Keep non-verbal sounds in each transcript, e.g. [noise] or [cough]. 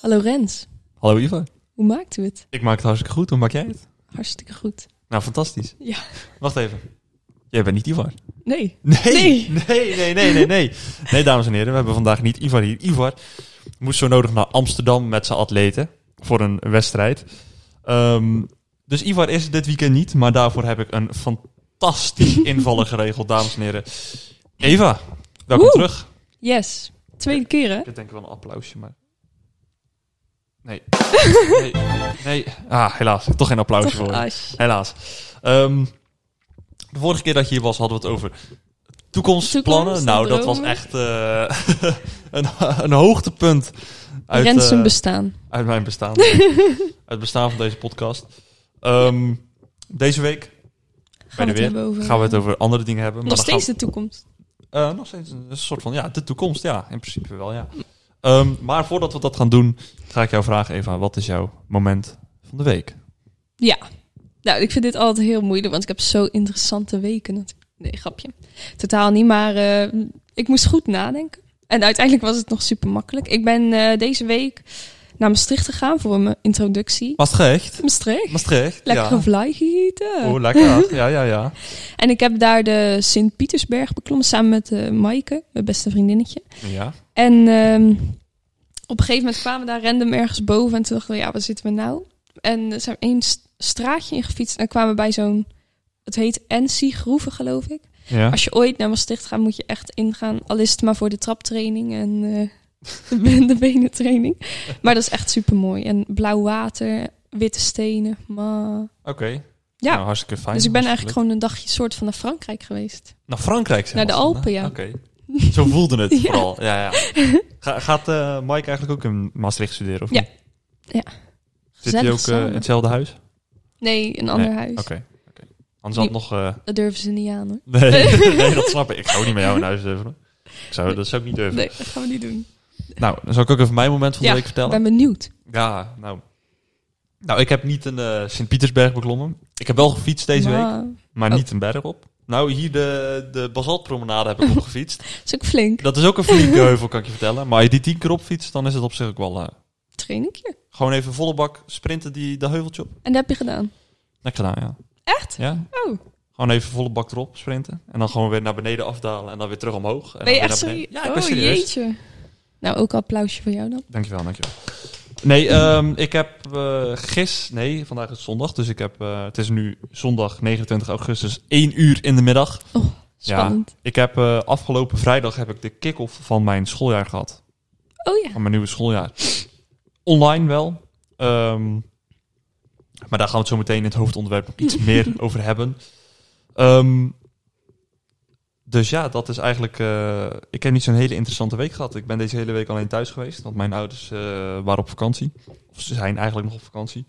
Hallo Rens, Hallo Ivo. hoe maakt u het? Ik maak het hartstikke goed. Hoe maak jij het? Hartstikke goed. Nou, fantastisch. Ja. Wacht even. Jij bent niet Ivar. Nee, Nee. Nee. Nee, nee, nee, nee, nee. Nee, dames en heren. We hebben vandaag niet Ivar hier. Ivar moest zo nodig naar Amsterdam met zijn atleten voor een wedstrijd. Ehm, dus Ivar is dit weekend niet, maar daarvoor heb ik een [laughs] fantastisch invaller geregeld, dames en heren. Eva, welkom Woe. terug. yes. Tweede keer hè? Ik denk wel een applausje, maar... Nee. Nee. nee. Ah, helaas. Toch geen applausje Toch voor. je. als. Helaas. Ehm, de vorige keer dat je hier was, hadden we het over toekomstplannen. Toekomst, nou, dat was dromen. echt eh, [laughs] een, een hoogtepunt uit, Rens zijn eh, bestaan. uit mijn bestaan. [laughs] uit het bestaan van deze podcast. Ehm, deze week Gaan we de het weer hebben over. gaan we het over andere dingen hebben. maar Nog dan gaan steeds de toekomst. eh, nog steeds een soort van, ja, de toekomst. Ja, in principe wel, ja. Ehm, maar voordat we dat gaan doen, ga ik jou vragen, Eva, wat is jouw moment van de week? Nou, ik vind dit altijd heel moeilijk, want ik heb zo interessante weken. natuurlijk. Nee, grapje. Totaal niet, maar eh, ik moest goed nadenken. En uiteindelijk was het nog super makkelijk. Ik ben eh, deze week naar Maastricht gegaan voor mijn introductie. Maastricht. Maastricht. Maastricht. Lekkere ja. vlaai gegeten. Oh, lekker. Ja, ja, ja. En ik heb daar de Sint-Pietersberg beklommen samen met eh Maaike, mijn beste vriendinnetje. Ja. En ehm, op een gegeven moment kwamen we daar random ergens boven. En toen dachten we, ja, waar zitten we nou? En er zijn we één st- straatje in gefietst. En kwamen we bij zo'n, het heet NC Groeven, geloof ik. ja. Als je ooit naar Maastricht gaat, moet je echt ingaan. Al is het maar voor de traptraining en eh, [laughs] de ben- de benentraining. Maar dat is echt super mooi. En blauw water, witte stenen. Maar... Oké. Ja. Nou, hartstikke fijn. Dus ik ben Hartstikke eigenlijk gewoon een dagje soort van naar Frankrijk geweest. leuk. Naar Frankrijk zeg Naar de maar. Alpen, ja. Oké. Zo voelde [laughs] het Ja. vooral. Ja, ja. Ga- gaat eh, Mike eigenlijk ook in Maastricht studeren? Of Ja. niet? Zit Gezellig hij ook eh, samen. in hetzelfde huis? Oké. Nee, een ander huis. oké. Anders had nog... eh, [laughs] Dat durven ze niet aan hoor. Nee, [laughs] nee, dat snap ik. Ik zou ook niet met jou in huis durven. hoor. Ik zou, dat zou ik niet durven. Nee, dat gaan we niet [laughs] doen. Nou, dan zal ik ook even mijn moment van de Ja, week Ik vertellen. ben benieuwd. Ja, nou. Nou, ik heb niet een eh, Sint-Pietersberg beklommen. Ik heb wel gefietst deze week, Maar- maar Oh. niet een berg op. Nou, hier de, de basaltpromenade heb ik [laughs] opgefietst. Dat is ook flink. Dat is ook een flinke heuvel, kan ik je vertellen. Maar als je die tien keer opfietst, dan is het op zich ook wel... eh, Train ik je. gewoon even volle bak sprinten die, de heuveltje op. En dat heb je gedaan. Niks gedaan, ja. Echt? ja. Oh. Gewoon even volle bak erop sprinten. En dan gewoon weer naar beneden afdalen en dan weer terug omhoog. En Ben je dan weer echt serieus? naar beneden. Ja, ik ben oh, serieus. jeetje. Nou, ook een applausje voor jou dan. Dankjewel, dankjewel. Nee, ehm, ik heb eh gis... Nee, vandaag is zondag. Dus ik heb... eh, het is nu zondag 29 augustus, 1 uur in de middag. Spannend. Ik heb eh, afgelopen vrijdag heb ik de kick-off van mijn schooljaar gehad. Oh ja. van mijn nieuwe schooljaar. Online wel. Ehm, maar daar gaan we het zo meteen in het hoofdonderwerp nog [laughs] iets meer over hebben. Ehm, dus ja, dat is eigenlijk. eh, ik heb niet zo'n hele interessante week gehad. Ik ben deze hele week alleen thuis geweest, want mijn ouders eh, waren op vakantie. Of ze zijn eigenlijk nog op vakantie.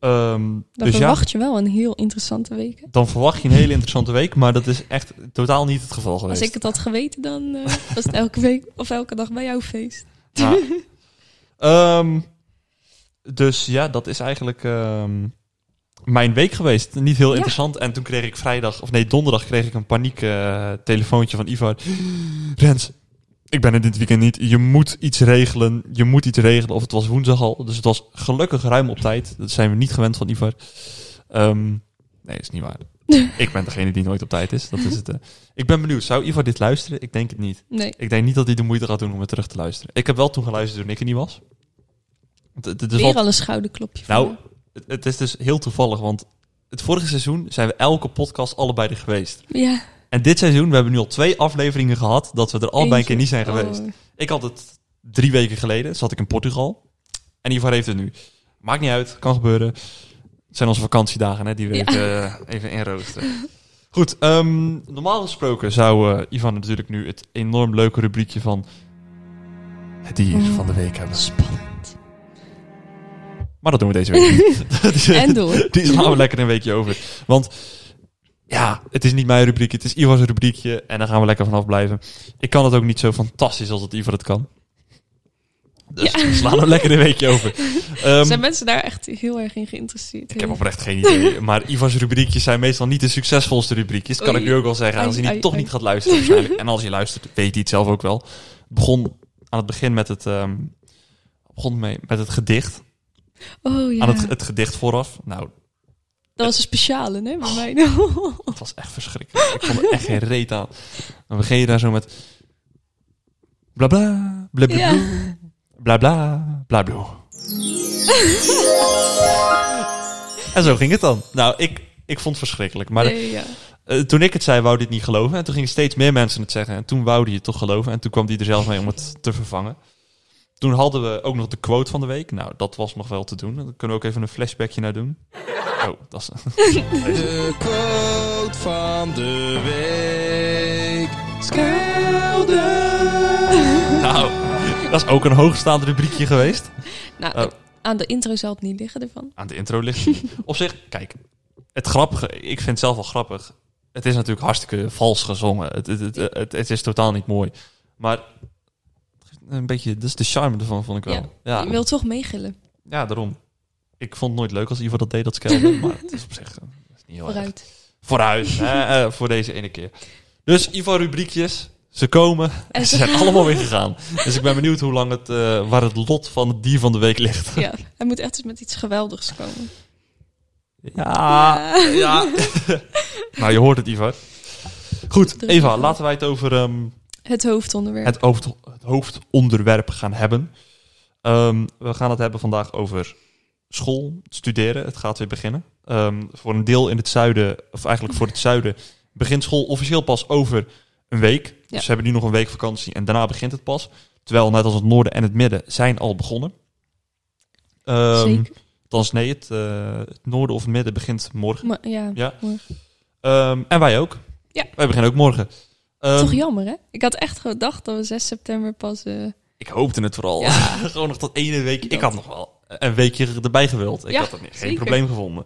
Ehm, Dan dus ja, verwacht je wel een heel interessante week. hè? dan verwacht je een hele interessante week, maar dat is echt totaal niet het geval geweest. Als ik het had geweten, dan eh, [laughs] was het elke week of elke dag bij jou feest. Ja. Ehm, dus ja, dat is eigenlijk ehm, mijn week geweest. Niet heel Ja. interessant. En toen kreeg ik vrijdag, of nee, donderdag kreeg ik een paniek eh, telefoontje van Ivar. Rens, ik ben er dit weekend niet. Je moet iets regelen. Je moet iets regelen. Of het was woensdag al. Dus het was gelukkig ruim op tijd. Dat zijn we niet gewend van Ivar. Ehm, nee, is niet waar. ik ben degene die nooit op tijd is. Dat is het. eh. Ik ben benieuwd. Zou Ivar dit luisteren? Ik denk het niet. Nee. Ik denk niet dat hij de moeite gaat doen om het terug te luisteren. Ik heb wel toen geluisterd toen ik er niet was. Want Het, het is Weer wel- al een schouderklopje. voor Dus nou, jou. het, het is dus heel toevallig, want het vorige seizoen zijn we elke podcast allebei er geweest. Ja. En dit seizoen, we hebben nu al twee afleveringen gehad dat we er allebei een keer niet zijn Eentje. geweest. Oh. Ik had het drie weken geleden, zat ik in Portugal. En Ivar heeft het nu. Maakt niet uit, kan gebeuren. Het zijn onze vakantiedagen, hè, die we Ja. even, eh, even inroosteren. Goed, ehm, normaal gesproken zou eh, Ivan natuurlijk nu het enorm leuke rubriekje van het dier Oh. van de week hebben. Spannend. Maar dat doen we deze week [laughs] niet. Dat is- En door. die slaan we lekker een weekje over. Want ja, het is niet mijn rubriekje, het is Ivar's rubriekje. En daar gaan we lekker vanaf blijven. Ik kan het ook niet zo fantastisch als dat Ivar het kan. Dus sla nou lekker een weekje over. [laughs] Ehm, Zijn mensen daar echt heel erg in geïnteresseerd? ik heb oprecht geen idee. Maar Ivan's rubriekjes zijn meestal niet de succesvolste rubriekjes. Kan Oei. ik nu ook wel zeggen. Als je Ai, niet, ai, toch ai. niet gaat [laughs] luisteren waarschijnlijk. En als je luistert, weet hij het zelf ook wel. Het begon aan het begin met het, ehm, begon mee, met het gedicht. oh ja, Aan het, het gedicht vooraf. Nou, dat was een speciale, hè, Oh. bij mij. [laughs] Het was echt verschrikkelijk. Ik vond er echt geen reet aan. Dan begin je daar zo met... Bla bla, bla bla, Ja. bla bla, bla bla. En zo ging het dan. Nou, ik, ik vond het verschrikkelijk. [laughs] Maar Nee, ja. eh, toen ik het zei, wou dit niet geloven. En toen gingen steeds meer mensen het zeggen. En toen wou die het toch geloven. En toen kwam die er zelf mee om het te vervangen. Toen hadden we ook nog de quote van de week. Nou, dat was nog wel te doen. Daar kunnen we ook even een flashbackje naar doen. Oh, dat is... [laughs] De quote van de week. Nou, dat is ook een hoogstaand rubriekje geweest. Nou, Oh. aan de intro zal het niet liggen ervan. Aan de intro [laughs] ligt. het niet. Op zich, kijk, het grappige, ik vind het zelf wel grappig. Het is natuurlijk hartstikke vals gezongen. Het, het, het, het, het is totaal niet mooi. Maar een beetje, dat is de charme ervan, vond ik wel. Ja, Je ja, wil toch meegillen, daarom. Ik vond het nooit leuk als Ivo dat deed, dat skelde. [laughs] Maar het is op zich eh, dat is niet heel erg. vooruit. Vooruit, hè, eh, voor deze ene keer. Dus Ivo rubriekjes, ze [laughs] komen en En ze ze zijn allemaal weer gegaan. Dus ik ben benieuwd hoe lang het, eh, waar het lot van het dier van de week ligt. Ja, hij moet echt eens met iets geweldigs komen. Ja, Ah, ja. [laughs] nou, je hoort het, Ivar. Goed, Dus Eva, ja. laten wij het over ehm, Het hoofdonderwerp. het, hoofd, het hoofdonderwerp gaan hebben. Ehm, we gaan het hebben vandaag over school, studeren. Het gaat weer beginnen. Ehm, voor een deel in het zuiden, of eigenlijk voor het zuiden, begint school officieel pas over een week. Ja. Dus ze hebben nu nog een week vakantie en daarna begint het pas. Terwijl net als het noorden en het midden zijn al begonnen. Ehm Zeker. dan is nee, het, eh, het noorden of het midden begint morgen. Maar, ja, Ja. morgen. Ehm, en wij ook. Ja. Wij beginnen ook morgen. Ehm, toch jammer, hè? Ik had echt gedacht dat we 6 september pas... eh, Ik hoopte het vooral. [laughs] Gewoon nog dat ene week. Ik Dat. had nog wel een weekje erbij gewild. Ik Ja, had dat niet, geen zeker. probleem gevonden.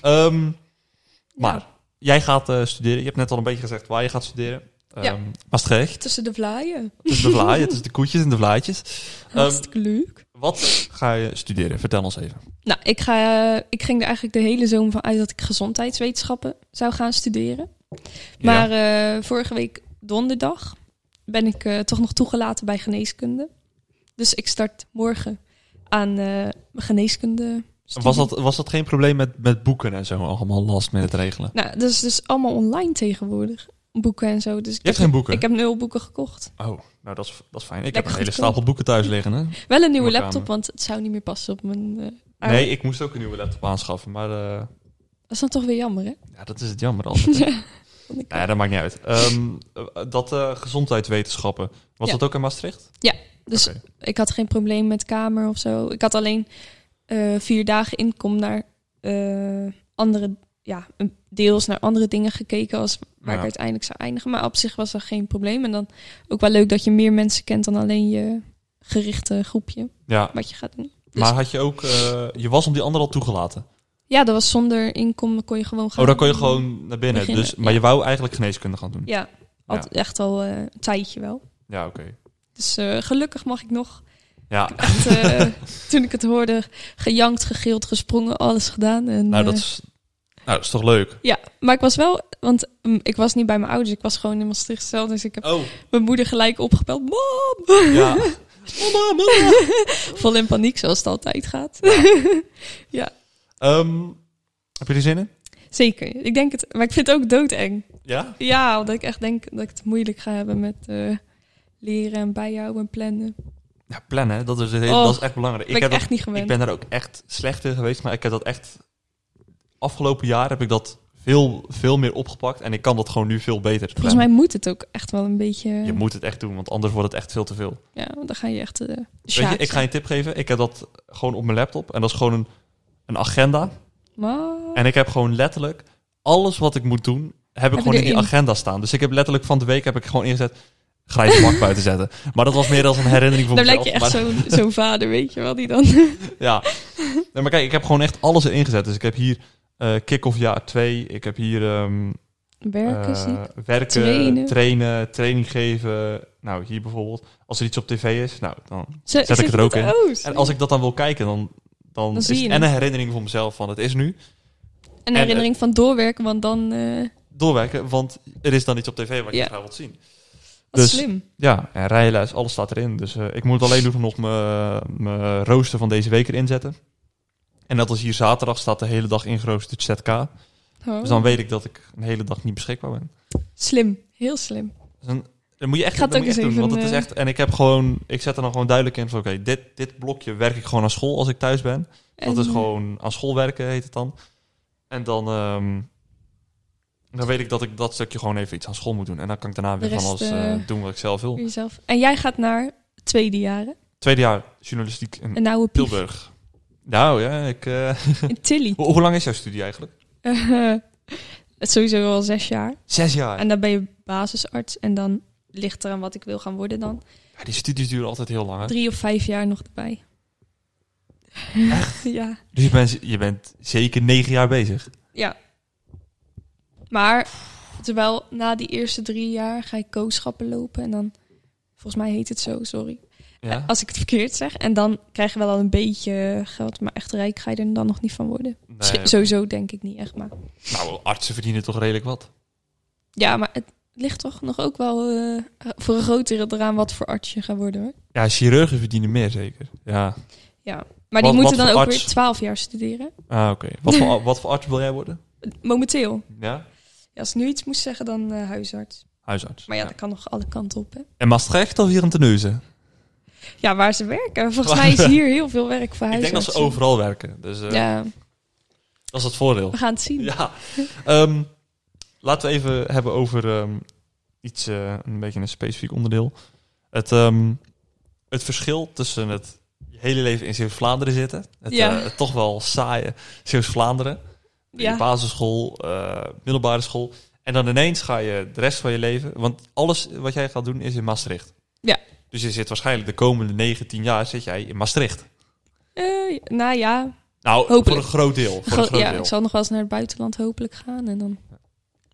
Ehm, maar jij gaat eh, studeren. Je hebt net al een beetje gezegd waar je gaat studeren. Ehm Ja. Maastricht. tussen de vlaaien. Het is de vlaai, het is de koetjes en de vlaatjes. Ehm, Hartstikke leuk. wat ga je studeren? Vertel ons even. Nou, ik, ga, eh, ik ging er eigenlijk de hele zomer van uit dat ik gezondheidswetenschappen zou gaan studeren. Maar eh, vorige week donderdag ben ik eh, toch nog toegelaten bij geneeskunde. Dus ik start morgen aan eh, mijn geneeskunde. Ja. was, dat, was dat geen probleem met, met boeken en zo? Allemaal last met het regelen. Nou, dat is dus allemaal online tegenwoordig. Boeken en zo. Dus ik Je heb, hebt geen boeken? ik heb nul boeken gekocht. Oh, nou dat is, dat is fijn. Ik heb Lekker een hele goedkoop. stapel boeken thuis liggen. Hè? Wel een nieuwe Mijn laptop, kamer. want het zou niet meer passen op mijn. eh, oude. Nee, ik moest ook een nieuwe laptop aanschaffen. Maar eh, Dat is dan toch weer jammer, hè? ja, dat is het jammer [laughs] altijd. hè. Vond ik Nou ja, dat maakt niet uit. Ehm, eh, dat eh, gezondheidswetenschappen, was Ja. dat ook in Maastricht? Dus Oké. ik had geen probleem met kamer of zo. Ik had alleen eh, vier dagen inkom naar eh, andere, ja, een- deels naar andere dingen gekeken als waar Ja. ik uiteindelijk zou eindigen. Maar op zich was dat geen probleem. En dan ook wel leuk dat je meer mensen kent dan alleen je gerichte groepje Ja, wat je gaat doen. Dus- maar had je ook, eh, je was om die ander al toegelaten. Ja, dat was zonder inkom kon je gewoon gaan. Oh, dan kon je gewoon naar binnen. beginnen, dus, maar je ja. wou eigenlijk geneeskunde gaan doen. Ja, Ja, al- echt al eh, een tijdje wel. oké. Dus eh, gelukkig mag ik nog. Ja, Echt, eh, [laughs] toen ik het hoorde, gejankt, gegild, gesprongen, alles gedaan. En, nou dat, eh, is, nou dat is toch leuk. Ja, maar ik was wel, want mm, ik was niet bij mijn ouders, ik was gewoon in Maastricht zelf, dus ik heb Oh, mijn moeder gelijk opgebeld. Mam! ja. [laughs] Mama, mama. Vol in paniek, zoals het altijd gaat. Ehm, heb je er zin in? Zeker, ik denk het, maar ik vind het ook doodeng. Ja? Ja, omdat ik echt denk dat ik het moeilijk ga hebben met eh, leren en bijhouden en plannen. Daar Ja, plannen, hè. dat is, het hele, Oh, dat is echt belangrijk. ben ik, heb dat- echt niet gewend. Ik ben daar ook echt slecht in geweest, maar ik heb dat echt. Afgelopen jaar heb ik dat veel, veel meer opgepakt en ik kan dat gewoon nu veel beter. Volgens mij moet het ook echt wel een beetje, Je moet het echt doen, want anders wordt het echt veel te veel. ja, want dan ga je echt... eh Weet sjaak je, ik ga je zijn. een tip geven. Ik heb dat gewoon op mijn laptop en dat is gewoon een, een agenda. Maar- En ik heb gewoon letterlijk alles wat ik moet doen, heb ik je gewoon in die erin? agenda staan. Dus ik heb letterlijk van de week heb ik gewoon ingezet grijze [laughs] mak buiten zetten. Maar dat was meer als een herinnering voor Dan mezelf. lijkt je echt maar- zo'n zo'n vader, weet je wel, die [laughs] dan... Ja. Nee, maar kijk, ik heb gewoon echt alles erin gezet. Dus ik heb hier eh kick-off jaar 2. Ik heb hier ehm, Werken zie ik. Eh, werken, Trainen. trainen. training geven. Nou, hier bijvoorbeeld. Als er iets op tv is, nou, dan... Zet, ik het er ook in. Oh, En als ik dat dan wil kijken, dan, dan, zie is je het het. en een herinnering voor mezelf van het is nu. Een eh, herinnering van doorwerken, want dan... eh Doorwerken, want er is dan iets op tv wat je Ja. graag wilt zien. wat Dus- slim. Ja, en rijlijst, alles staat erin. Dus eh, ik moet het [laughs] alleen doen nog mijn- mijn rooster van deze week erin zetten. En dat is hier zaterdag, staat de hele dag ingeroosterd ZK. Oh, Dus dan weet ik dat ik een hele dag niet beschikbaar ben. Slim. Heel slim. Dus dan, dan moet je echt, Ik ga het dat ook moet je eens echt doen, want even, het is eh, echt... En ik heb gewoon, ik zet er dan gewoon duidelijk in van oké, dit, dit blokje werk ik gewoon aan school als ik thuis ben. En, Dat is eh, gewoon aan school werken, heet het dan. En dan, ehm, dan weet ik dat ik dat stukje gewoon even iets aan school moet doen. En dan kan ik daarna De weer van rest, alles eh, eh, doen wat ik zelf voor wil. jezelf. En jij gaat naar tweede jaren. Tweede jaar journalistiek in Een oude pief. Mm. Tilburg. Nou ja, ik, eh, [laughs] In Tilly. [laughs] hoe, hoe lang is jouw studie eigenlijk? Eh, het is sowieso al zes jaar. Zes jaar. En dan ben je basisarts. En dan ligt er aan wat ik wil gaan worden dan. Ja, die studies duren altijd heel lang. Hè? Drie of vijf jaar nog erbij. [laughs] ja. Dus je bent, je bent zeker negen jaar bezig. Ja. Maar terwijl na die eerste drie jaar ga ik kooschappen lopen. En dan, volgens mij heet het zo, sorry. Ja? Als ik het verkeerd zeg. En dan krijg je wel al een beetje geld. Maar echt rijk ga je er dan nog niet van worden. Schi- Nee, Sowieso denk ik niet echt. Maar nou, artsen verdienen toch redelijk wat. ja, maar het ligt toch nog ook wel eh, voor een groot deel eraan wat voor arts je gaat worden hoor. Ja, chirurgen verdienen meer zeker. Ja, Maar Wat- die moeten wat dan ook voor weer arts? twaalf jaar studeren. ah, oké. [laughs] Wat, voor, wat voor arts wil jij worden? Momenteel. Ja? Ja, als ik nu iets moest zeggen, dan eh, huisarts. Huisarts. Maar ja, dat kan nog alle kanten op hè. En Maastricht of hier in Teneuzen? Ja, waar ze [laughs] werken. Volgens mij is hier heel veel werk voor Ik denk dat huisartsen. ze overal werken. Dus eh, Ja, dat is het [laughs] voordeel. we gaan het zien. Ja. Ehm, laten we even hebben over ehm, iets, eh, een beetje een specifiek onderdeel. Het, ehm, het verschil tussen het je hele leven in Zeeuws-Vlaanderen zitten, het, Ja. eh, het toch wel saaie Zeeuws-Vlaanderen, Ja. je basisschool, eh, middelbare school, en dan ineens ga je de rest van je leven, want alles wat jij gaat doen is in Maastricht. Ja. Dus je zit waarschijnlijk de komende 19 jaar zit jij in Maastricht. Eh, nou ja, Nou, voor Hopelijk. een groot deel. Voor een Gewoon- groot ja, deel. ik zal nog wel eens naar het buitenland hopelijk gaan. En dan...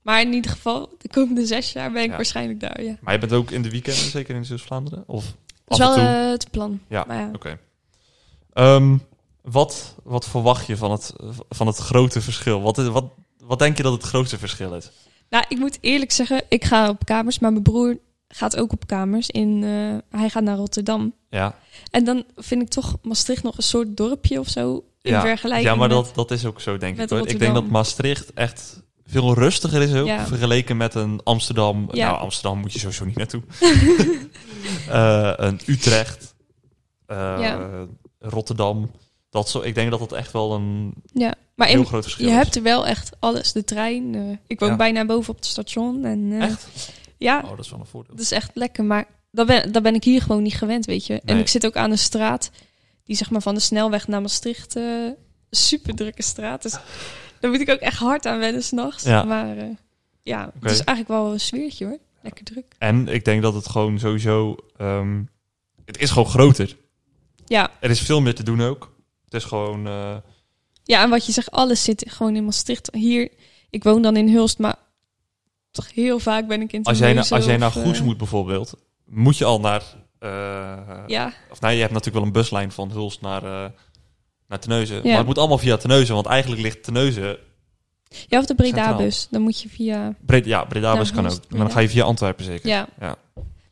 Maar in ieder geval, de komende zes jaar ben ik Ja. waarschijnlijk daar. Ja. Maar je bent ook in de weekenden, zeker in Zeeuws-Vlaanderen? Of Dat is af wel en toe? eh, het plan. Ja, Maar ja. Oké. Ehm, wat, wat verwacht je van het, van het grote verschil? Wat, is- wat, wat denk je dat het grootste verschil is? Nou, ik moet eerlijk zeggen, ik ga op kamers. Maar mijn broer gaat ook op kamers. In, eh, hij gaat naar Rotterdam. Ja, En dan vind ik toch Maastricht nog een soort dorpje of zo. In ja. vergelijking ja maar met- dat, dat is ook zo, denk met ik. Hoor. Ik denk Rotterdam. dat Maastricht echt veel rustiger is ook, Ja. vergeleken met een Amsterdam. Ja. Nou, Amsterdam moet je sowieso [laughs] niet naartoe. Eh, een Utrecht, eh, Ja. Rotterdam. Dat zo, ik denk dat dat echt wel een Ja, maar in- heel groot verschil je is. hebt er wel echt alles. De trein. eh, ik woon Ja. bijna boven op het station. En, eh, Echt? Ja, Oh, dat is wel een voordeel. Dat is echt lekker, maar dat ben, dat ben ik hier gewoon niet gewend, weet je. En Nee. ik zit ook aan een straat die zeg maar van de snelweg naar Maastricht, eh super drukke straat. Dus daar moet ik ook echt hard aan wennen s'nachts. Ja. Maar eh, ja, Oké. het is eigenlijk wel een sfeertje hoor. Lekker druk. En ik denk dat het gewoon sowieso... ehm, het is gewoon groter. Ja. Er is veel meer te doen ook. Het is gewoon... eh, ja, en wat je zegt, alles zit gewoon in Maastricht. Hier, ik woon dan in Hulst, maar toch heel vaak ben ik in als, jij naar, Terneuzen als jij naar of, Goes eh, moet bijvoorbeeld... Moet je al naar... eh, Ja, Of nou, je hebt natuurlijk wel een buslijn van Hulst naar, eh naar Terneuzen. Ja. Maar het moet allemaal via Terneuzen. Want eigenlijk ligt Terneuzen... ja, of de Centraal. Breda-bus. Dan moet je via... Bre ja, Breda Naar West kan Hulst, ook. Maar dan ga je via Antwerpen zeker. Ja. Ja.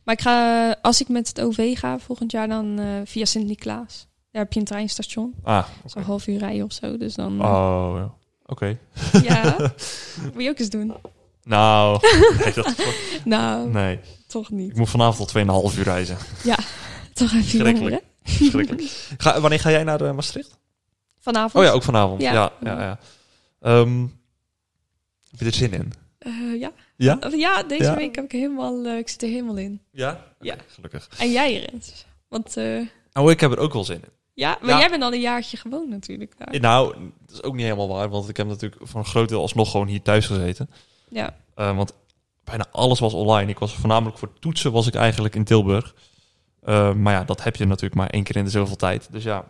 Maar ik ga, eh, als ik met het OV ga volgend jaar, dan eh, via Sint-Niklaas. Daar heb je een treinstation. Ah, Zo'n half uur rijden of zo. Dus dan. eh, oh, ja. oké. Ja. Moet je ook eens doen? [laughs] Nou, nee, dat, Nou, nee. toch Ik niet. moet vanavond al 2,5 uur [laughs] reizen. Toch even jammer, Schrikkelijk. hè? Schrikkelijk. Ga, wanneer ga jij naar eh, Maastricht? Vanavond. Oh ja, ook vanavond. Ja. Ja, ja, ja. Ehm, heb je er zin in? Eh, ja. Ja? Of ja, deze Ja. week heb ik helemaal. eh, ik zit er helemaal in. Ja? Ja. Gelukkig. En jij, Rens. Want eh, Nou, ik heb er ook wel zin in. ja, maar Ja. jij bent al een jaartje gewoon natuurlijk. Daar. Nou, dat is ook niet helemaal waar, want ik heb natuurlijk voor een groot deel alsnog gewoon hier thuis gezeten. Ja. Eh, want bijna alles was online. Ik was voornamelijk voor toetsen was ik eigenlijk in Tilburg. Eh, maar ja, dat heb je natuurlijk maar één keer in de zoveel tijd. Dus ja,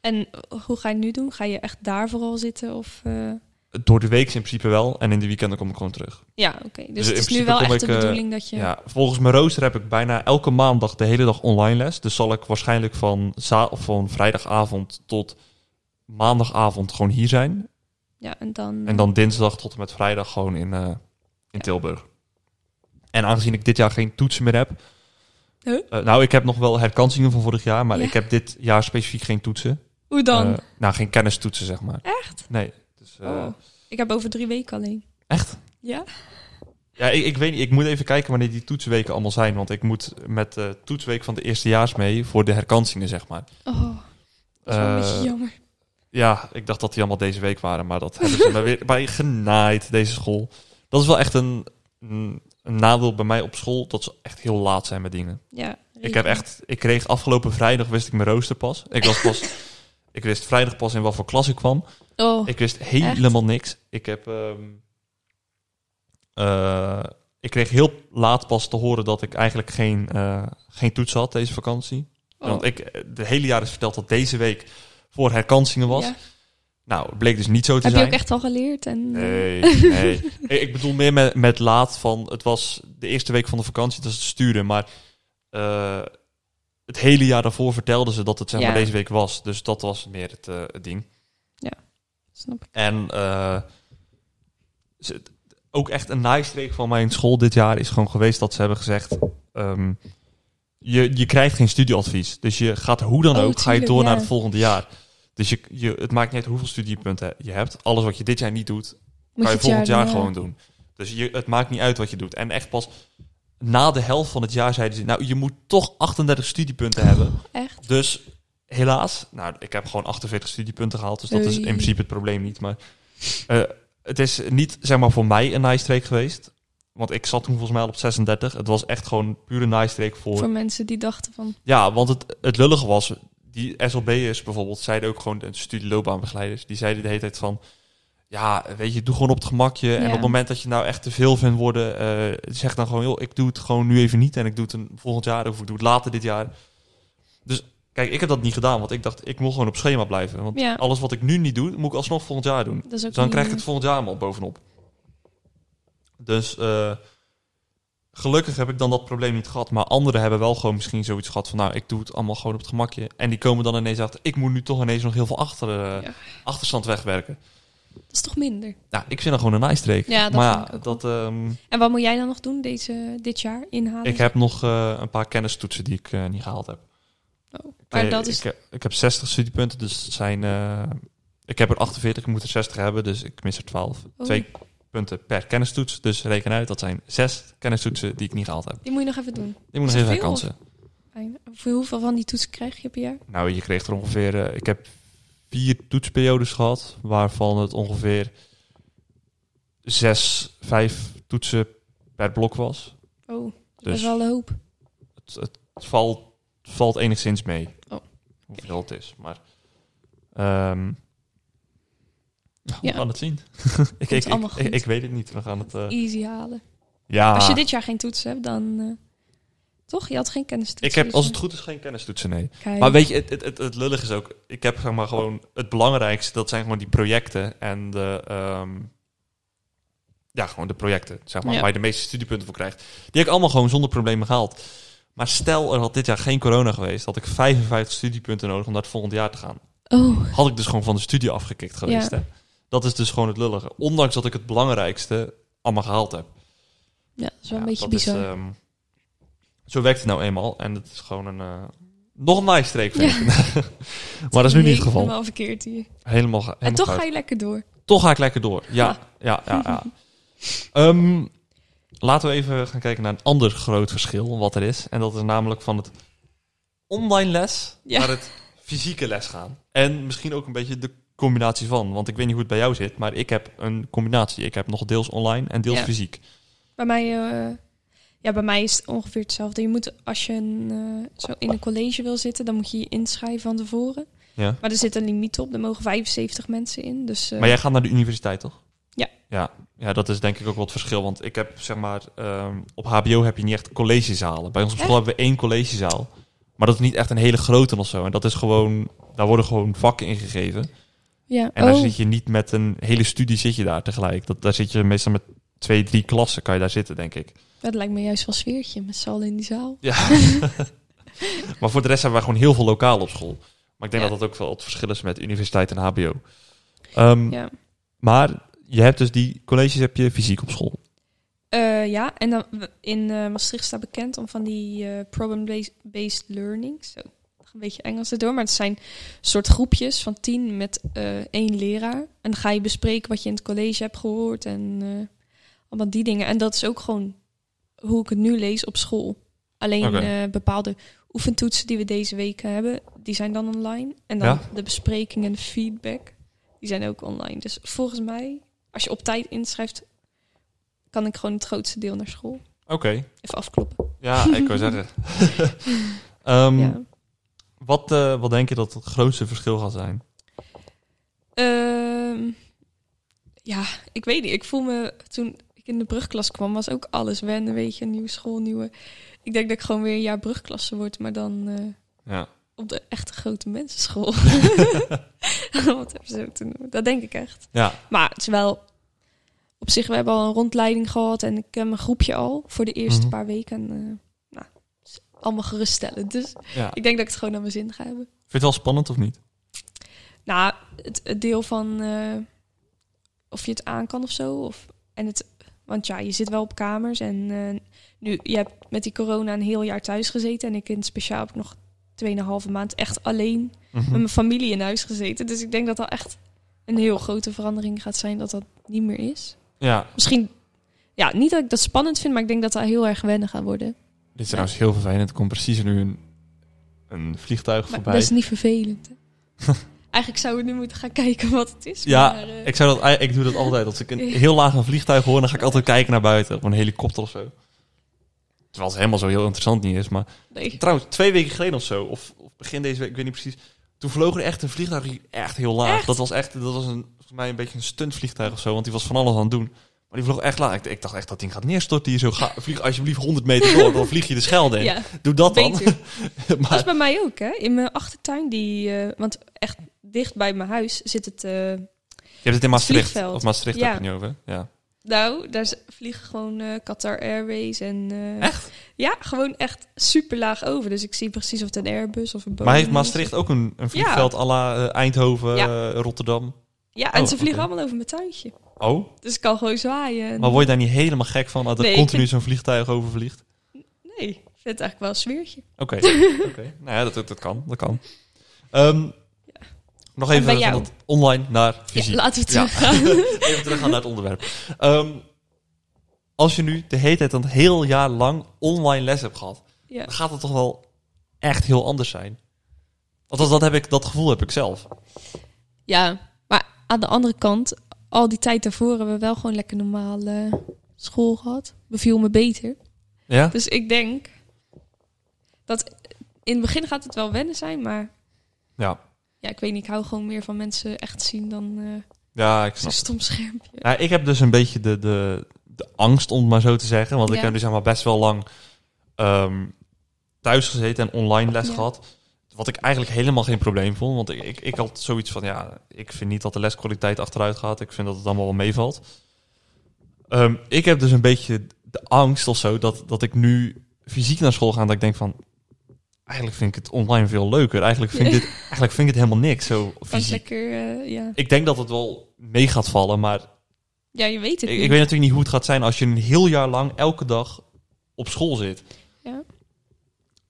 En hoe ga je het nu doen? Ga je echt daar vooral zitten? Of eh, Door de week in principe wel. En in de weekenden kom ik gewoon terug. Ja, oké. Dus, Dus in het is nu principe wel kom echt ik, de eh, bedoeling dat je... Ja. volgens mijn rooster heb ik bijna elke maandag de hele dag online les. Dus zal ik waarschijnlijk van, za- of van vrijdagavond tot maandagavond gewoon hier zijn. Ja, en dan... En dan dinsdag tot en met vrijdag gewoon in, eh, in Ja. Tilburg. En aangezien ik dit jaar geen toetsen meer heb. Huh? eh, nou, ik heb nog wel herkansingen van vorig jaar, maar Ja. ik heb dit jaar specifiek geen toetsen. Hoe dan? Eh, nou, geen kennistoetsen, zeg maar. Echt? Nee. Dus, eh, Oh. Ik heb over drie weken alleen. Echt? Ja? Ja, ik, ik weet niet. Ik moet even kijken wanneer die toetsweken allemaal zijn. Want ik moet met de toetsweek van de eerstejaars mee voor de herkansingen, zeg maar. Oh, dat is wel een Eh, beetje jammer. Ja, ik dacht dat die allemaal deze week waren, maar dat hebben ze me weer bij genaaid, deze school. Dat is wel echt een, een, een nadeel bij mij op school, dat ze echt heel laat zijn met dingen. Ja. Ik heb echt, ik kreeg afgelopen vrijdag, wist ik mijn rooster pas. Ik was [laughs] pas, ik wist vrijdag pas in wat voor klas ik kwam. Oh, Ik wist helemaal niks. Ik heb, ehm, eh, ik kreeg heel laat pas te horen dat ik eigenlijk geen, eh, geen toets had deze vakantie. oh. Want ik, eh, de hele jaar is verteld dat deze week voor herkansingen was. Ja. Nou, het bleek dus niet zo te Heb je zijn. ook echt al geleerd? En, eh, [laughs] Nee, nee. Ik ik bedoel meer met, met laat van... Het was de eerste week van de vakantie, dat is het sturen. Maar eh, het hele jaar daarvoor vertelden ze dat het zeg maar, Ja. deze week was. Dus dat was meer het, eh, het ding. Snap ik. En eh, ze- ook echt een naaistreek van mijn school dit jaar is gewoon geweest dat ze hebben gezegd... ehm, je, je krijgt geen studieadvies. Dus je gaat hoe dan Oh, ook, ga je tuurlijk, door ja. naar het volgende jaar. Dus je, je, het maakt niet uit hoeveel studiepunten je hebt. Alles wat je dit jaar niet doet, Moet kan je het volgend jaar, daarna- gewoon doen. Dus je, het maakt niet uit wat je doet. En echt pas na de helft van het jaar zeiden ze... nou, je moet toch 38 studiepunten hebben. Oh, Echt? Dus helaas, nou, ik heb gewoon 48 studiepunten gehaald... dus dat is in Oei. principe het probleem niet. Maar eh, het is niet, zeg maar, voor mij een nice streak geweest. Want ik zat toen volgens mij al op 36. Het was echt gewoon pure nice streak voor... Voor mensen die dachten van... Ja, want het, het lullige was... Die SLB'ers bijvoorbeeld zeiden ook gewoon... De studieloopbaanbegeleiders, die zeiden de hele tijd van... Ja, weet je, doe gewoon op het gemakje. En Ja. op het moment dat je nou echt te veel vindt worden... eh, zeg dan gewoon, joh, ik doe het gewoon nu even niet. En ik doe het een, volgend jaar of ik doe het later dit jaar. Dus kijk, ik heb dat niet gedaan. Want ik dacht, ik moet gewoon op schema blijven. Want Ja. alles wat ik nu niet doe, moet ik alsnog volgend jaar doen. Dat is ook Dus dan niet- krijg ik het volgend jaar allemaal bovenop. Dus eh, gelukkig heb ik dan dat probleem niet gehad. Maar anderen hebben wel gewoon misschien zoiets gehad van... nou, ik doe het allemaal gewoon op het gemakje. En die komen dan ineens achter... ik moet nu toch ineens nog heel veel achter, eh, Ja. achterstand wegwerken. Dat is toch minder? Nou, ik vind dat gewoon een nice streak. Ja, dat maar vind ik ja, ook dat, ehm, En wat moet jij dan nog doen deze, dit jaar? Inhalen? ik heb nog eh, een paar kennistoetsen die ik eh, niet gehaald heb. Oh, Maar Eh, dat is... ik, heb- ik heb 60 studiepunten, dus het zijn... eh, ik heb er 48, ik moet er 60 hebben, dus ik mis er 12. Oh. Twee punten per kennistoets, dus reken uit, dat zijn zes kennistoetsen die ik niet gehaald heb. Die moet je nog even doen. Ik moet Is nog dat even veel? herkansen. Fijn. Voor hoeveel van die toetsen krijg je per jaar? Nou, je kreeg er ongeveer... eh, ik heb vier toetsperiodes gehad, waarvan het ongeveer zes, vijf toetsen per blok was. Oh, dat is Dus- best wel een hoop. Het, het, valt, het valt enigszins mee. Oh, oké. Hoeveel het is, maar... ehm, nou, Ja. We gaan het zien. [laughs] ik, ik, Komt ik, allemaal ik, goed. ik weet het niet. We gaan het... eh, Easy halen. ja, Als je dit jaar geen toetsen hebt, dan... eh, toch? Je had geen kennis ik heb als het goed is geen kennistoetsen, nee. Kijk. Maar weet je, het, het, het, het lullig is ook... Ik heb zeg maar gewoon... Het belangrijkste, dat zijn gewoon die projecten. En de... ehm, ja, gewoon de projecten, zeg maar. Ja. Waar je de meeste studiepunten voor krijgt. Die heb ik allemaal gewoon zonder problemen gehaald. Maar stel, er had dit jaar geen corona geweest... had ik 55 studiepunten nodig om naar het volgende jaar te gaan. Oh, Had ik dus gewoon van de studie afgekikt geweest, Ja. hè. Dat is dus gewoon het lullige. Ondanks dat ik het belangrijkste allemaal gehaald heb. ja, dat is wel Ja, een beetje dat bizar. is, ehm, zo werkt het nou eenmaal. En het is gewoon een... eh, nog een nice streek, vind Ja. ik. [laughs] maar dat is nu niet het geval. Helemaal verkeerd hier. Helemaal, ge- en helemaal toch goud. ga je Ah. lekker door. toch ga ik lekker door. Ja, ja, ja. [laughs] ja. Ehm, laten we even gaan kijken naar een ander groot verschil wat er is. En dat is namelijk van het online les Ja. naar het fysieke les gaan. En misschien ook een beetje de combinatie van. Want ik weet niet hoe het bij jou zit, maar ik heb een combinatie. Ik heb nog deels online en deels Ja. fysiek. Bij mij, eh, ja, bij mij is het ongeveer hetzelfde. Je moet, als je een, eh, zo in een college wil zitten, dan moet je je inschrijven van tevoren. Ja. Maar er zit een limiet op. Er mogen 75 mensen in. Dus, eh, Maar jij gaat naar de universiteit, toch? Ja. ja. Ja, dat is denk ik ook wel het verschil. Want ik heb, zeg maar, ehm, op HBO heb je niet echt collegezalen. Bij ons op school hebben we één collegezaal. Maar dat is niet echt een hele grote of zo. En dat is gewoon, daar worden gewoon vakken ingegeven. Ja. En oh. daar zit je niet met een hele studie zit je daar tegelijk. Dat, daar zit je meestal met twee, drie klassen kan je daar zitten, denk ik. Dat lijkt me juist wel sfeertje met z'n allen in die zaal. Ja. [laughs] maar voor de rest hebben we gewoon heel veel lokaal op school. Maar ik denk Ja. dat dat ook wel het verschil is met universiteit en hbo. Ehm, Ja. Maar je hebt dus die colleges heb je fysiek op school. Eh, ja, en dan w- in eh, Maastricht staat bekend om van die eh, problem-based based learning. Zo, nog een beetje Engels erdoor. Maar het zijn soort groepjes van tien met eh, één leraar. En dan ga je bespreken wat je in het college hebt gehoord en eh, allemaal die dingen. En dat is ook gewoon hoe ik het nu lees op school. Alleen Oké. eh, bepaalde oefentoetsen die we deze week hebben, die zijn dan online. En dan Ja. de besprekingen en de feedback, die zijn ook online. Dus volgens mij, als je op tijd inschrijft, kan ik gewoon het grootste deel naar school. Oké. Even afkloppen. Ja, ik wou zeggen. [laughs] Ehm, Ja. wat, eh, wat denk je dat het grootste verschil gaat zijn? Ehm, ja, ik weet niet. Ik voel me toen ik in de brugklas kwam, was ook alles wennen, weet je, nieuwe school, nieuwe. Ik denk dat ik gewoon weer een jaar brugklasse word, maar dan eh, Ja. op de echte grote mensenschool. [laughs] Wat hebben ze ook te noemen? Dat denk ik echt. Ja. Maar het is wel op zich, we hebben al een rondleiding gehad en ik heb mijn groepje al voor de eerste Mhm. paar weken. En, eh, nou, het is allemaal geruststellend. Dus ja. ik denk dat ik het gewoon naar mijn zin ga hebben. Vind je het wel spannend of niet? Nou, het, het deel van eh, of je het aan kan of zo. Of, en het, want ja, je zit wel op kamers. En eh, nu, je hebt met die corona een heel jaar thuis gezeten. En ik in het speciaal heb ik nog 2,5 maand echt alleen Mhm. met mijn familie in huis gezeten. Dus ik denk dat dat echt een heel grote verandering gaat zijn dat dat niet meer is. Ja. Misschien, ja, niet dat ik dat spannend vind, maar ik denk dat dat heel erg wennen gaat worden. Dit is trouwens heel vervelend. Er komt precies nu een, een vliegtuig Maar voorbij. dat is niet [laughs] vervelend. hè. Eigenlijk zouden we nu moeten gaan kijken wat het is. Ja, maar, eh, Ik, zou dat, ei- ik doe dat altijd. Als ik een heel laag een vliegtuig hoor, dan ga ik altijd kijken naar buiten. Of een helikopter of zo. Terwijl het helemaal zo heel interessant niet is. Maar nee. trouwens, twee weken geleden of zo, of, of begin deze week, ik weet niet precies. Toen vloog er echt een vliegtuig die echt heel laag. Echt? Dat was echt, dat was een, volgens mij een beetje een stuntvliegtuig of zo. Want die was van alles aan het doen. Maar die vloog echt laag. Ik, ik dacht echt dat ding gaat neerstorten hier zo. Ga, vlieg alsjeblieft 100 meter door, dan vlieg je de Schelde in. Ja, Doe dat dan. beter. Dat [laughs] maar, is Dus bij mij ook, hè? In mijn achtertuin, die, eh, want echt dicht bij mijn huis zit het. eh, je hebt het in Maastricht. vliegveld. Of Maastricht Ja. heb je het nu over. Ja. nou, daar z- vliegen gewoon eh, Qatar Airways en. echt? Ja, gewoon echt super laag over. Dus ik zie precies of het een Airbus of een Boeing Maar heeft is. Maastricht ook een, een vliegveld à la eh, Eindhoven, Ja. eh, Rotterdam? Ja, en Oh, ze vliegen oké. allemaal over mijn tuintje. Oh, Dus ik kan gewoon zwaaien. en- maar word je daar niet helemaal gek van dat er Nee, ik continu zo'n vliegtuig over vliegt? Nee, ik vind het eigenlijk wel een sfeertje. [laughs] Oké, oké. nou ja, dat, dat, dat kan, dat kan. Ehm, Nog En bij even van jou? dat online naar Ja, fysiek. laten we Ja. teruggaan. [laughs] Even teruggaan naar het onderwerp. Ehm, als je nu de hele tijd een heel jaar lang online les hebt gehad, Ja. dan gaat het toch wel echt heel anders zijn? Althans, dat, heb ik, dat gevoel heb ik zelf. Ja, maar aan de andere kant, al die tijd daarvoor hebben we wel gewoon lekker normale school gehad. Beviel me beter. Ja? Dus ik denk dat in het begin gaat het wel wennen zijn, maar Ja, ja, ik weet niet, ik hou gewoon meer van mensen echt zien dan eh ja ik zo'n snap stom schermpje. Ja, ik heb dus een beetje de, de, de angst, om het maar zo te zeggen. Want ik Ja. heb dus zeg maar best wel lang ehm, thuis gezeten en online les Ja. gehad. Wat ik eigenlijk helemaal geen probleem vond. Want ik, ik, ik had zoiets van, ja, ik vind niet dat de leskwaliteit achteruit gaat. Ik vind dat het allemaal wel meevalt. Ehm, ik heb dus een beetje de angst of zo dat, dat ik nu fysiek naar school ga. En dat ik denk van, eigenlijk vind ik het online veel leuker. Eigenlijk vind ik, dit, eigenlijk vind ik het helemaal niks, zo Dat is fysiek. lekker, eh, ja. Ik denk dat het wel mee gaat vallen, maar ja, je weet het ik, niet. ik weet natuurlijk niet hoe het gaat zijn als je een heel jaar lang elke dag op school zit. Ja.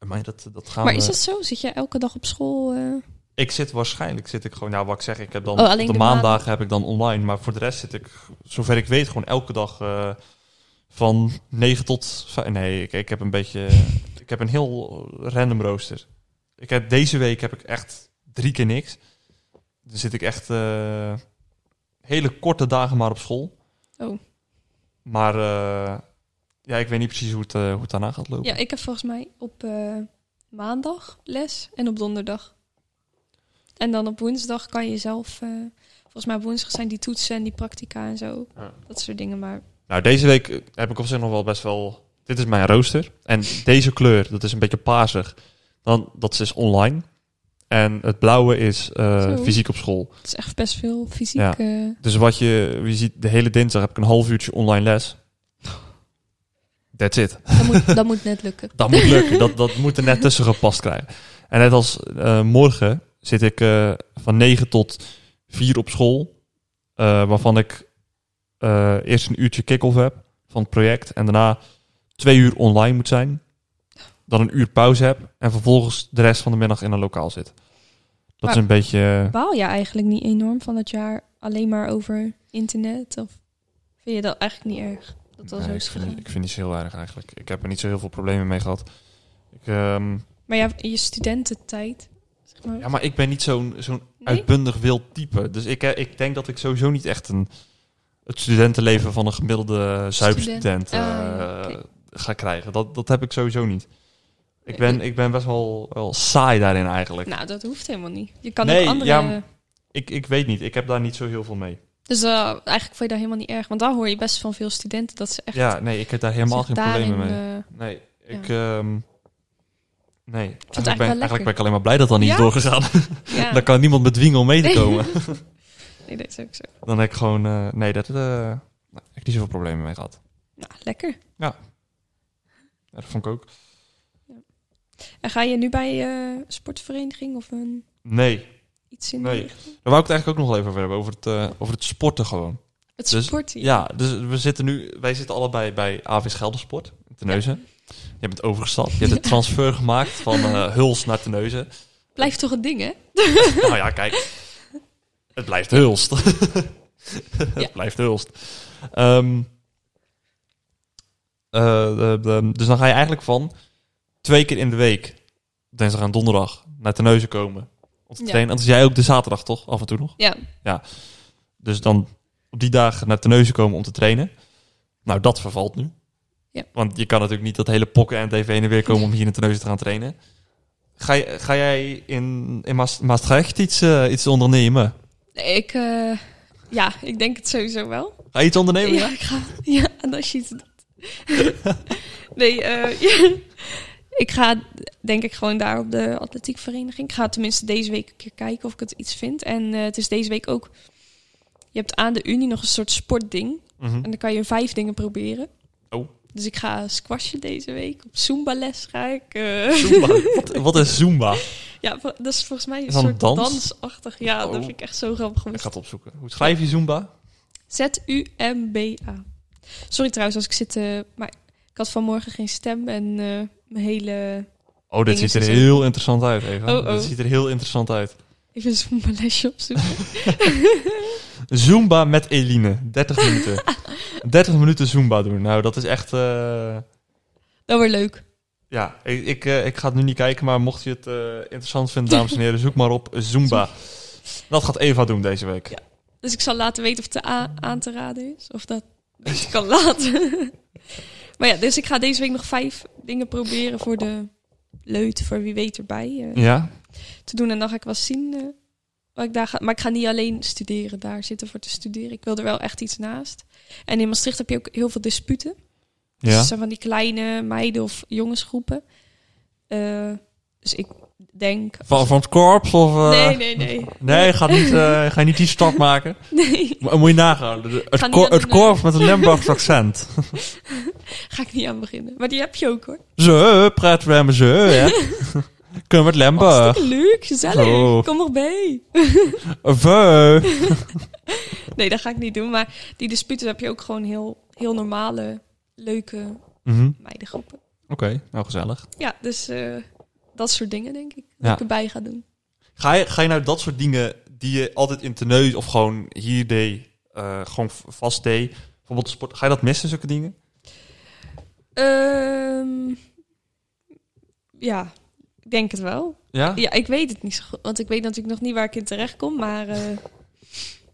Maar dat, dat gaan maar we... is dat zo? Zit jij elke dag op school? eh? Ik zit waarschijnlijk, zit ik gewoon, nou wat ik zeg, ik heb dan Oh, op alleen de, de maandagen heb ik dan online. Maar voor de rest zit ik, zover ik weet, gewoon elke dag eh, van 9 tot 5. Nee, ik, ik heb een beetje, [laughs] ik heb een heel random rooster. Ik heb, deze week heb ik echt drie keer niks. Dan zit ik echt eh, hele korte dagen maar op school. Oh. Maar eh, ja, ik weet niet precies hoe het, eh, hoe het daarna gaat lopen. Ja, ik heb volgens mij op eh, maandag les en op donderdag. En dan op woensdag kan je zelf, eh, volgens mij op woensdag zijn die toetsen en die practica en zo. Ja. Dat soort dingen, maar Nou, deze week eh, heb ik op zich nog wel best wel. Dit is mijn rooster. En deze kleur, dat is een beetje paarsig. Dan, dat is dus online. En het blauwe is eh, Zo. fysiek op school. Het is echt best veel fysiek. Ja. eh, Dus wat je, je ziet, de hele dinsdag heb ik een half uurtje online les. That's it. dat, moet, dat moet net lukken. Dat moet lukken. Dat, dat moet er net tussen gepast krijgen. En net als eh, morgen zit ik eh, van 9 tot 4 op school. eh, waarvan ik eh, eerst een uurtje kick-off heb van het project. En daarna twee uur online moet zijn. Dan een uur pauze heb. En vervolgens de rest van de middag in een lokaal zit. Dat Maar- is een beetje... eh, Baal je eigenlijk niet enorm van dat jaar alleen maar over internet? Of vind je dat eigenlijk niet erg? Dat dat nee, zo ik, is vind, gegaan. het- ik vind het heel erg eigenlijk. Ik heb er niet zo heel veel problemen mee gehad. Ik, ehm, Maar ja, je studententijd. Zeg maar. ja, maar ik ben niet zo'n zo'n Nee? uitbundig wild type. Dus ik, eh, ik denk dat ik sowieso niet echt een, het studentenleven van een gemiddelde zuipstudent eh Ah, ja, oké. ga krijgen. Dat, dat heb ik sowieso niet. Ik Nee, ben, ik ben best wel, wel saai daarin eigenlijk. Eh, Nou, dat hoeft helemaal niet. Je kan Nee, ook andere... ja, maar- Ik, ik weet niet, ik heb daar niet zo heel veel mee. Dus eh, eigenlijk vond je dat helemaal niet erg. Want daar hoor je best van veel studenten dat ze echt... Ja, nee, ik heb daar helemaal geen zich problemen daarin, mee. eh, Nee, ik... ehm, nee, eigenlijk eigenlijk wel ben, lekker. eigenlijk ben ik alleen maar blij dat dat niet Ja? Ah. is doorgegaan. eh, [laughs] ja. Dan kan niemand me dwingen om mee [laughs] te komen. Nee, dat is ook zo. Dan heb ik gewoon... eh, nee, dat, eh, nou, ik heb niet zoveel problemen mee gehad. Nou, lekker. Ja, Dat vond ik ook. En ga je nu bij eh sportvereniging of een, Nee, iets in [laughs] Nee. die richting? Daar wou ik het eigenlijk ook nog wel even over hebben, over het, eh, over het sporten gewoon. Het Dus- sporten. Ja, dus we zitten nu, wij zitten allebei bij AVS Geldersport, in Tenneuzen. Je bent overgestapt, je hebt een transfer gemaakt van eh, Huls naar Tenneuzen. Blijft toch een ding, hè? [laughs] nou ja, kijk, het blijft Hulst. [laughs] het Ja. blijft Hulst. Ehm, eh, de- de- dus dan ga je eigenlijk van twee keer in de week, dinsdag en donderdag, naar Tenneuzen komen. Om te Ja. trainen. Want jij ook de zaterdag toch, af en toe nog? Ja. Dus dan op die dagen naar Tenneuzen komen om te trainen. Nou, dat vervalt nu. Ja. Want je kan natuurlijk niet dat hele pokken en TV heen en weer komen om hier in Tenneuzen te gaan trainen. Ga, je- ga jij in, in Maas- Maastricht iets, eh, iets ondernemen? Nee, ik, eh, ja, ik denk het sowieso wel. Ga je iets ondernemen? Ja, ik ga. [laughs] Ja, en als je iets doet. [laughs] nee, eh, [laughs] ja. ik ga denk ik gewoon daar op de atletiekvereniging. Ik ga tenminste deze week een keer kijken of ik het iets vind. En eh, het is deze week ook. Je hebt aan de Unie nog een soort sportding. Mhm. En dan kan je vijf dingen proberen. Oh. Dus ik ga squashen deze week. Op Zumba-les ga ik. eh. [laughs] Zumba. wat, wat is Zumba? ja, vo- dat is volgens mij een Is dat een soort dans? dansachtig. Ja, Oh. dat vind ik echt zo grappig. om Ik eens ga het opzoeken. Hoe schrijf je Zumba? Z-U-M-B-A. Sorry trouwens als ik zit... eh, maar ik had vanmorgen geen stem en eh, mijn hele... Oh, dit Dingen ziet er zijn zo- heel interessant uit, Eva. Oh, oh. Dit ziet er heel interessant uit. Even zo'n lesje opzoeken. Zumba met Eline. 30 [laughs] minuten. 30 minuten Zumba doen. Nou, dat is echt... eh, Dat wordt Nou, leuk. Ja, ik, ik, eh, ik ga het nu niet kijken, maar mocht je het eh, interessant vinden, dames en heren, zoek maar op Zumba. Dat gaat Eva doen deze week. Ja. Dus ik zal laten weten of het te a- aan te raden is. Of dat dat ik kan laten. [laughs] maar ja, dus ik ga deze week nog vijf dingen proberen voor de leut. Voor wie weet erbij eh, Ja? te doen. En dan ga ik wel zien eh, wat ik daar ga... Maar ik ga niet alleen studeren daar zitten voor te studeren. Ik wil er wel echt iets naast. En in Maastricht heb je ook heel veel disputen. Dus Ja? het zijn van die kleine meiden of jongensgroepen. Eh, dus ik denk... Van, van het korps of... eh, nee, nee, nee. Nee, ga, niet, eh, ga niet die stap maken. [laughs] Nee, Maar, moet je nagaan. de- Ga Het, niet kor- aan het doen, korps met een [laughs] Limburgs accent. ga ik niet aan beginnen. Maar die heb je ook hoor. Ze, praten we met ze, [laughs] hè. Kunnen we het Limburg. Hartstikke Oh, leuk, gezellig. Zo. Kom nog bij. [laughs] Veu. Nee, dat ga ik niet doen. Maar die disputen heb je ook gewoon heel, heel normale, leuke Mhm, meidengroepen. Oké, nou gezellig. Ja, dus eh, dat soort dingen denk ik. Dat Ja. ik erbij ga doen. Ga je, ga je nou dat soort dingen die je altijd in teneus of gewoon hier deed, eh, gewoon v- vast deed, bijvoorbeeld sport, ga je dat missen, zulke dingen? Ehm, ja, ik denk het wel. Ja? Ja, ik weet het niet zo goed. Want ik weet natuurlijk nog niet waar ik in terecht kom. Maar eh,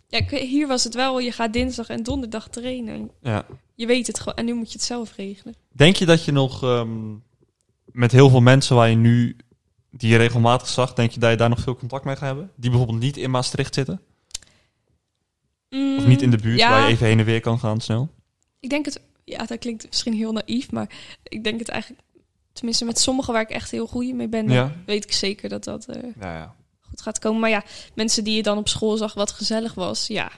ja, ik- hier was het wel. Je gaat dinsdag en donderdag trainen. Ja. Je weet het gewoon. En nu moet je het zelf regelen. Denk je dat je nog ehm, met heel veel mensen waar je nu, die je regelmatig zag, denk je dat je daar nog veel contact mee gaat hebben? Die bijvoorbeeld niet in Maastricht zitten? Of niet in de buurt Mm, ja, waar je even heen en weer kan gaan snel? Ik denk het. Ja, dat klinkt misschien heel naïef. Maar ik denk het eigenlijk. Tenminste, met sommigen waar ik echt heel goed mee ben. Ja. Weet ik zeker dat dat eh, Ja, ja. goed gaat komen. Maar ja, mensen die je dan op school zag wat gezellig was, ja,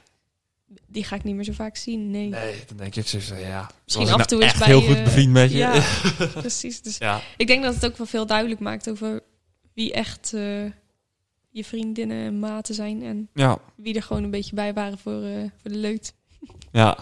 die ga ik niet meer zo vaak zien. Nee. Nee, dan denk ik, ze ja. Misschien was af ik en toe nou is echt bij eh, heel je- goed bevriend met je. Ja, precies. Dus Ja. ik denk dat het ook wel veel duidelijk maakt over wie echt eh, je vriendinnen en maten zijn. En [laughs] Ja. wie er gewoon een beetje bij waren voor, eh, voor de leut. ja.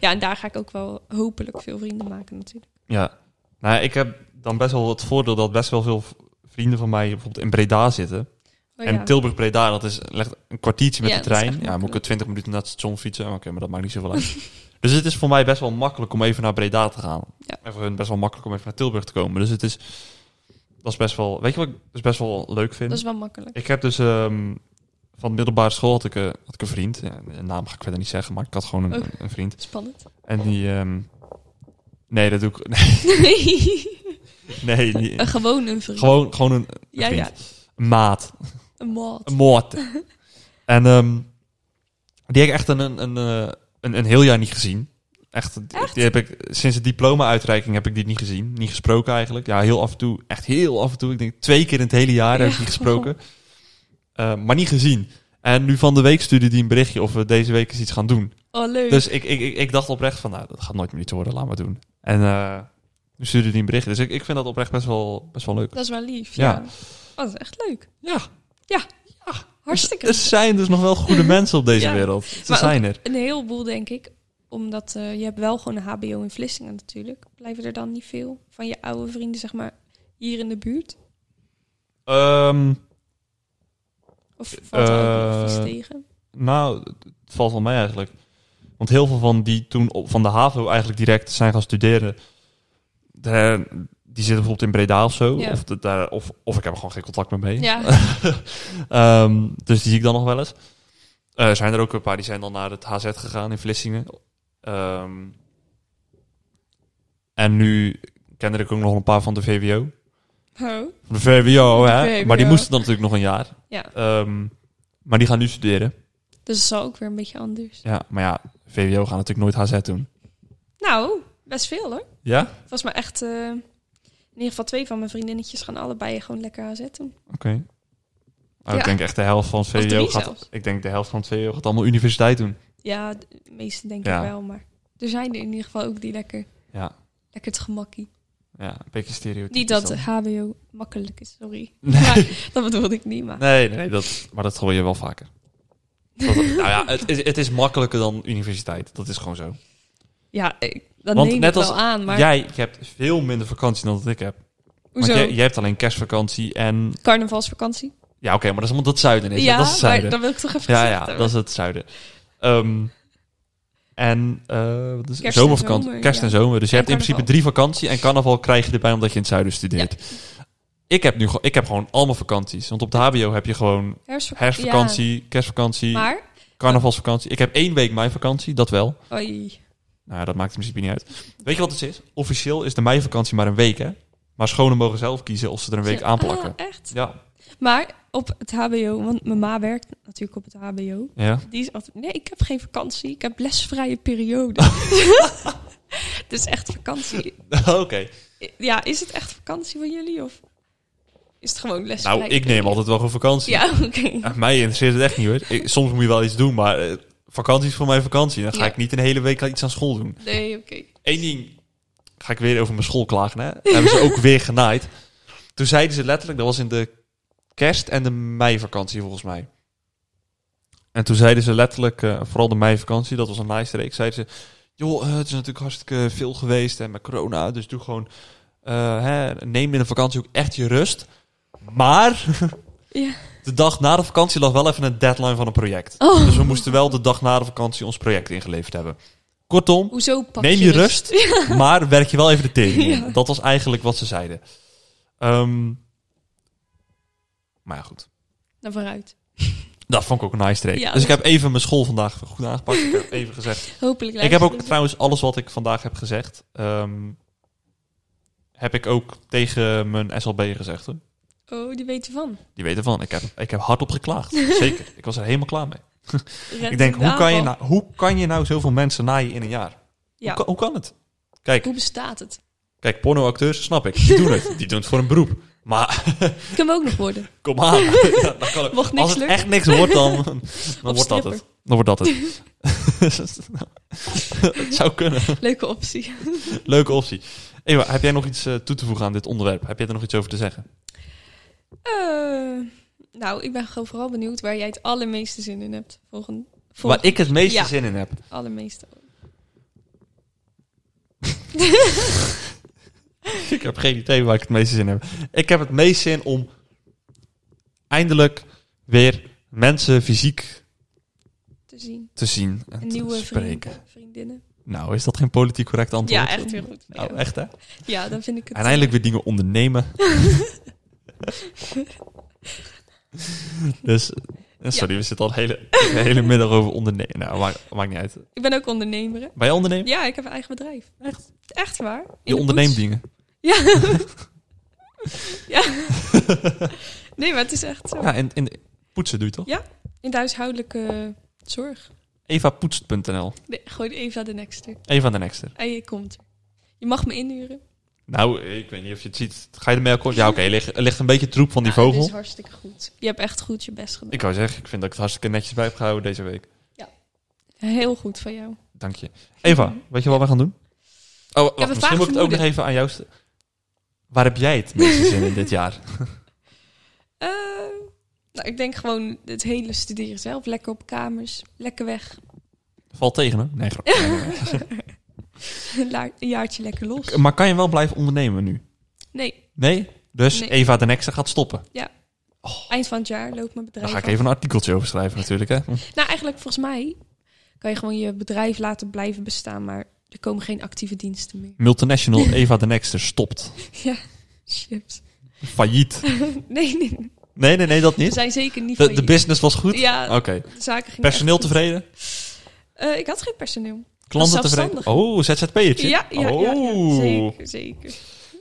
Ja, en daar ga ik ook wel hopelijk veel vrienden maken natuurlijk. Ja. Nou, ik heb dan best wel het voordeel dat best wel veel v- vrienden van mij bijvoorbeeld in Breda zitten. Oh En ja. Tilburg-Breda, dat is ligt een kwartiertje met Ja, de dat is echt trein. Ja, moet ik makkelijk. 20 minuten naar het station fietsen. Oké, maar dat maakt niet zoveel [laughs] uit. dus het is voor mij best wel makkelijk om even naar Breda te gaan. Ja. En voor hun best wel makkelijk om even naar Tilburg te komen. Dus het is, dat is best wel, weet je wat ik dus best wel leuk vind? Dat is wel makkelijk. Ik heb dus ehm, van de middelbare school had ik, eh, had ik een vriend. Ja, een naam ga ik verder niet zeggen, maar ik had gewoon een, Oh. een vriend. Spannend. [laughs] En die... ehm, nee, dat doe ik... [laughs] [laughs] Nee, die- een gewoon een vriend. gewoon, gewoon een, een ja, ja. Een maat. Een maat. Een moord. en ehm, die heb ik echt een, een, een, eh, een, een heel jaar niet gezien. Echt, Die heb ik, sinds de diploma-uitreiking heb ik die niet gezien. Niet gesproken eigenlijk. Ja, heel af en toe. Echt heel af en toe. Ik denk twee keer in het hele jaar heb ik die gesproken. Eh, maar niet gezien. En nu van de week stuurde die een berichtje of we deze week eens iets gaan doen. Oh, leuk. Dus ik, ik, ik, ik dacht oprecht van, nou, dat gaat nooit meer iets worden, laat maar doen. En eh, nu stuurde die een berichtje. Dus ik, ik vind dat oprecht best wel, best wel leuk. dat is wel lief. Ja. Dus- Ja. Oh, dat is echt leuk. Ja, Hartstikke Er zijn dus nog wel [laughs] goede mensen op deze Ja. wereld. Ze Maar ook- zijn er. Een heleboel, denk ik. Omdat eh, je hebt wel gewoon een hbo in Vlissingen natuurlijk. Blijven er dan niet veel van je oude vrienden, zeg maar, hier in de buurt? Ehm, Of valt er ook nog Eh, iets tegen? nou, het valt wel mee eigenlijk. Want heel veel van die toen op, van de HAVO eigenlijk direct zijn gaan studeren... de- die zitten bijvoorbeeld in Breda of zo. Ja. Of, de- daar, of, of ik heb er gewoon geen contact meer mee. Ja, [laughs] Ehm, dus die zie ik dan nog wel eens. Eh, zijn er ook een paar die zijn dan naar het HZ gegaan in Vlissingen. Ehm, en nu kende ik ook nog een paar van de VWO. [laughs] oh, Van de VWO, hè? VWO. Maar die moesten dan natuurlijk nog een jaar. ja. Ehm, maar die gaan nu studeren. Dus het zal ook weer een beetje anders. Ja, maar ja, VWO gaan natuurlijk nooit HZ doen. Nou, best veel hoor. Ja? Volgens mij echt... eh, in ieder geval twee van mijn vriendinnetjes gaan allebei gewoon lekker aan zetten. Oké. Oh, Ik Ja. denk echt de helft van het Of VWO drie gaat... zelfs. Ik denk de helft van het VWO gaat allemaal universiteit doen. Ja, de meeste denk Ja. ik wel, maar... Er zijn er in ieder geval ook die lekker, Ja, lekker het gemakkie. ja een beetje stereotypisch. Niet dat eh. dan. HBO makkelijk is, sorry. Nee. Maar dat bedoelde ik niet, maar... Nee, nee dat, maar dat hoor je wel [laughs] vaker. Dat- nou ja, het is, het is makkelijker dan universiteit. Dat is gewoon zo. Ja, ik, dat Want neem net ik wel als aan, maar Jij hebt veel minder vakantie dan dat ik heb. hoezo? Want jij, jij hebt alleen kerstvakantie en... Carnavalsvakantie? Ja, oké, maar dat is omdat het zuiden is. hè? ja, dat is het maar zuiden. dan wil ik toch even Ja, gezegd ja, hebben. dat is het zuiden. Ehm, en eh, wat is het? en zomervakantie, zomer, kerst ja. en zomer. Dus je En hebt in principe carnaval. drie vakantie en carnaval krijg je erbij omdat je in het zuiden studeert. Ik heb nu gewoon- ik heb gewoon allemaal vakanties. Want op de HBO heb je gewoon Herfstvak- herfstvakantie, kerstvakantie, Ja, maar, carnavalsvakantie. Ik heb één week meivakantie, dat wel. oei, Nou, ja, dat maakt in principe niet uit. Weet je wat het is? Officieel is de meivakantie maar een week, hè? Maar scholen mogen zelf kiezen of ze er een week Ja, aan plakken. ah, [laughs] echt? Ja, Maar op het HBO, want mijn ma werkt natuurlijk op het HBO. ja. [laughs] Die is altijd, nee, ik heb geen vakantie, ik heb lesvrije periode. [laughs] [laughs] Het is echt vakantie. Oké. Ja, is het echt vakantie van jullie of is het gewoon lesvrije Nou, ik neem periode? altijd wel gewoon vakantie. Ja, [laughs] oké. Ja, mij interesseert het echt niet hoor. Ik- soms moet je wel iets doen, maar eh, vakantie is voor mij vakantie. Dan ga Ja. ik niet een hele week iets aan school doen. Nee, oké. Eén ding ga ik weer over mijn school klagen. Hè? [laughs] Daar hebben ze ook weer genaaid. Toen zeiden ze letterlijk, dat was in de kerst- en de meivakantie volgens mij. En toen zeiden ze letterlijk, eh, vooral de meivakantie, dat was een nice reeks, zeiden ze... Joh, eh, het is natuurlijk hartstikke veel geweest en met corona, dus doe gewoon... eh, hè, neem in de vakantie ook echt je rust. Maar [laughs] Ja. de dag na de vakantie lag wel even een deadline van een project. Oh. Dus we moesten wel de dag na de vakantie ons project ingeleverd hebben. Kortom, Hoezo pak Neem je rust, [laughs] [laughs] maar werk je wel even de tering in. Ja. Dat was eigenlijk wat ze zeiden. Ehm, maar ja, goed. Naar Nou, vooruit. Dat vond ik ook een nice streak. Ja, dus ik dat- heb even mijn school vandaag goed aangepakt. Ik [laughs] heb even gezegd. Hopelijk Ik heb ook luisteren ze. trouwens alles wat ik vandaag heb gezegd. ehm, heb ik ook tegen mijn SLB gezegd. Hoor. Oh, die weet ervan. Die weten van. Ik heb, ik heb hardop [laughs] geklaagd. Zeker. Ik was er helemaal klaar mee. Rent Ik denk, in de hoe kan, je aanval. nou, hoe kan je nou zoveel mensen naaien in een jaar? Ja. Hoe, kan, hoe kan het? Kijk, Hoe bestaat het? Kijk, pornoacteurs, snap ik. Die doen het. Die doen het voor een beroep. Maar Kunnen we ook nog [laughs] worden. kom aan. Ja, dan kan ik- Mocht niks als het lukken. echt niks wordt, [laughs] dan, dan Of wordt dat stripper. het. Dan wordt dat [laughs] het. het zou kunnen. Leuke optie. Leuke optie. Ewa, heb jij nog iets eh, toe te voegen aan dit onderwerp? Heb jij er nog iets over te zeggen? Eh, nou, ik ben gewoon vooral benieuwd waar jij het allermeeste zin in hebt. Volgende. Waar ik het meeste Ja. zin in heb. Allermeeste. Ik heb geen idee waar ik het meeste zin in heb. Ik heb het meest zin om eindelijk weer mensen fysiek Te zien. te zien en En te nieuwe spreken. vrienden, vriendinnen. Nou, is dat geen politiek correct antwoord? Ja, echt weer goed. Nou, Ja. echt hè? Ja, dan vind ik het. En eindelijk weer dingen ondernemen. [laughs] dus, eh, sorry, we zitten al de hele, de hele middag over ondernemen. Nou, maakt, maakt niet uit. Ik ben ook ondernemer. hè. Bij ondernemen? Ja, ik heb een eigen bedrijf. Echt? Echt waar. In Je de onderneemt poets. dingen. [laughs] Ja. ja. Nee, maar het is echt zo. Ja, en, en poetsen doe je toch? Ja. In de huishoudelijke zorg. Evapoetst.nl. Nee, gooi Eva de nekster. Eva de Nexter. En je komt er. Je mag me inhuren. Nou, ik weet niet of je het ziet. Ga je ermee akkoord? Ja, oké. er ligt, er ligt een beetje troep van die Ja, vogel. dit is hartstikke goed. Je hebt echt goed je best gedaan. Ik wou zeggen, ik vind dat ik het hartstikke netjes bij heb gehouden deze week. Heel goed van jou. Dank je. Eva, weet je wat we gaan doen? Oh, wacht, een misschien Mhm. vaag moet ik het ook nog vermoeden. even aan jou... st- Waar heb jij het meeste zin in dit jaar? Eh, nou, ik denk gewoon het hele studeren zelf. Lekker op kamers. Lekker weg. [laughs] Valt tegen, hè? Nee, grap. Nee, nee, La- een jaartje lekker los. nee. Maar kan je wel blijven ondernemen nu? Nee, Nee? Dus Nee. Eva de Nexter gaat stoppen. eind van het jaar loopt mijn bedrijf Daar ga ik af. even een artikeltje over schrijven natuurlijk, hè? Nou, eigenlijk volgens mij kan je gewoon je bedrijf laten blijven bestaan, maar er komen geen actieve diensten meer. Multinational Eva de Nexter stopt. [laughs] Ja, chips. [laughs] Failliet. Nee, nee, nee. Nee, nee, nee, dat we niet. zijn zeker niet De, failliet. de business was goed? Ja, Oké. de zaken gingen Personeel echt goed. tevreden? Eh, ik had geen personeel. Klanten Als tevreden? zelfstandige. Oh, ZZP'ertje. Ja, ja, ja, ja, Oh. zeker, zeker.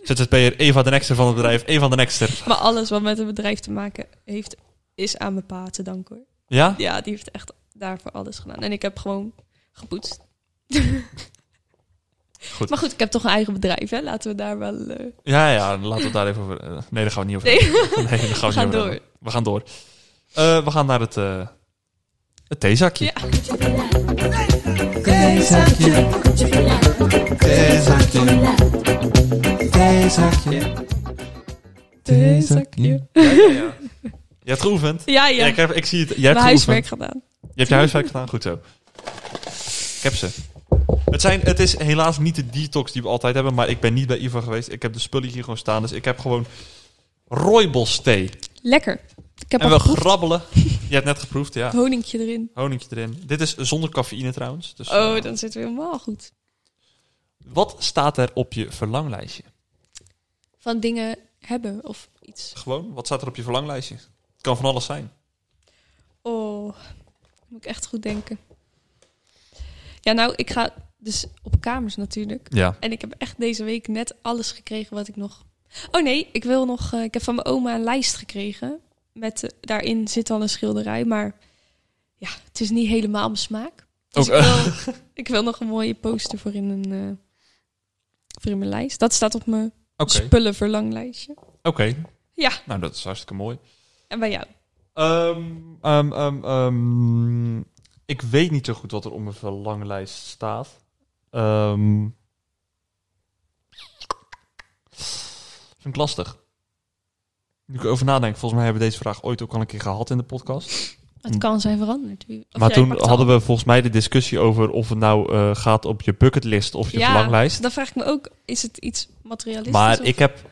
ZZP'er Eva de Nexter van het bedrijf. Eva de Nexter. Maar alles wat met een bedrijf te maken heeft, is aan mijn pa te danken hoor. Ja? Ja, die heeft echt daarvoor alles gedaan. En ik heb gewoon gepoetst. Goed. Maar goed, ik heb toch een eigen bedrijf, hè? Laten we daar wel... eh, Ja, ja, laten we het daar even over... eh, Nee, daar gaan we niet over Nee. hebben. Nee, daar gaan we, niet gaan over door. hebben. We gaan door. Eh, we gaan naar het, eh het theezakje. Ja. Theezakje. Theezakje. Theezakje. theezakje. Je hebt geoefend. Ja, ja. Ja, ik, heb, ik zie het. Je mijn hebt huiswerk geoefend. gedaan. Je hebt je huiswerk gedaan. Goed zo. Ik heb ze. Het, zijn, het is helaas niet de detox die we altijd hebben, maar ik ben niet bij Ivo geweest. Ik heb de spullen hier gewoon staan, dus ik heb gewoon rooibos thee. Lekker. Ik heb En al we een [laughs] grabbelen. Je hebt net geproefd, ja. honingje erin. Honingje erin. Dit is zonder cafeïne trouwens. Dus, eh, Oh, dan zitten we helemaal goed. Wat staat er op je verlanglijstje? Van dingen hebben of iets. Gewoon, wat staat er op je verlanglijstje? Het kan van alles zijn. Oh, moet ik echt goed denken. Ja, nou, ik ga dus op kamers natuurlijk. Ja. En ik heb echt deze week net alles gekregen wat ik nog... Oh nee, ik wil nog... eh, ik heb van mijn oma een lijst gekregen. Met, eh, daarin zit al een schilderij, maar... Ja, het is niet helemaal mijn smaak. Dus Ook, eh. ik, wil, [laughs] ik wil nog een mooie poster voor in, een, eh, voor in mijn lijst. Dat staat op mijn Oké. spullenverlanglijstje. Oké. Ja. Nou, dat is hartstikke mooi. En bij jou? Ehm, ehm, ehm, ehm, ik weet niet zo goed wat er op mijn verlanglijst staat. Ehm vind ik lastig. Nu ik erover nadenk, volgens mij hebben we deze vraag ooit ook al een keer gehad in de podcast. Het kan zijn veranderd. Wie- of Hm. maar jij toen pakt het hadden al. we volgens mij de discussie over of het nou eh, gaat op je bucketlist of je Ja, verlanglijst. Dan vraag ik me ook, is het iets materialistisch? Maar of- ik heb,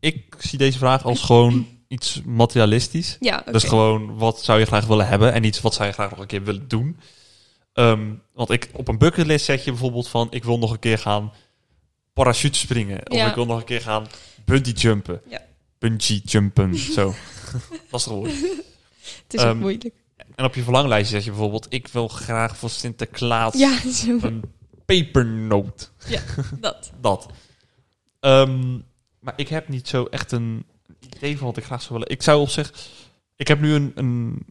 ik zie deze vraag als gewoon iets materialistisch. Ja, oké. Dus gewoon, wat zou je graag willen hebben en iets wat zou je graag nog een keer willen doen. Ehm, want ik, op een bucketlist zet je bijvoorbeeld van, ik wil nog een keer gaan parachute springen. Of Ja. ik wil nog een keer gaan bungee jumpen. Ja. Bungee [laughs] jumpen, zo. Lastig woord. het is ook ehm, moeilijk. En op je verlanglijstje zet je bijvoorbeeld, ik wil graag voor Sinterklaas Ja, [laughs] [laughs] zo, een pepernoot. dat. Dat. Ehm, maar ik heb niet zo echt een idee van wat ik graag zou willen. Ik zou op zich... Ik heb nu een... een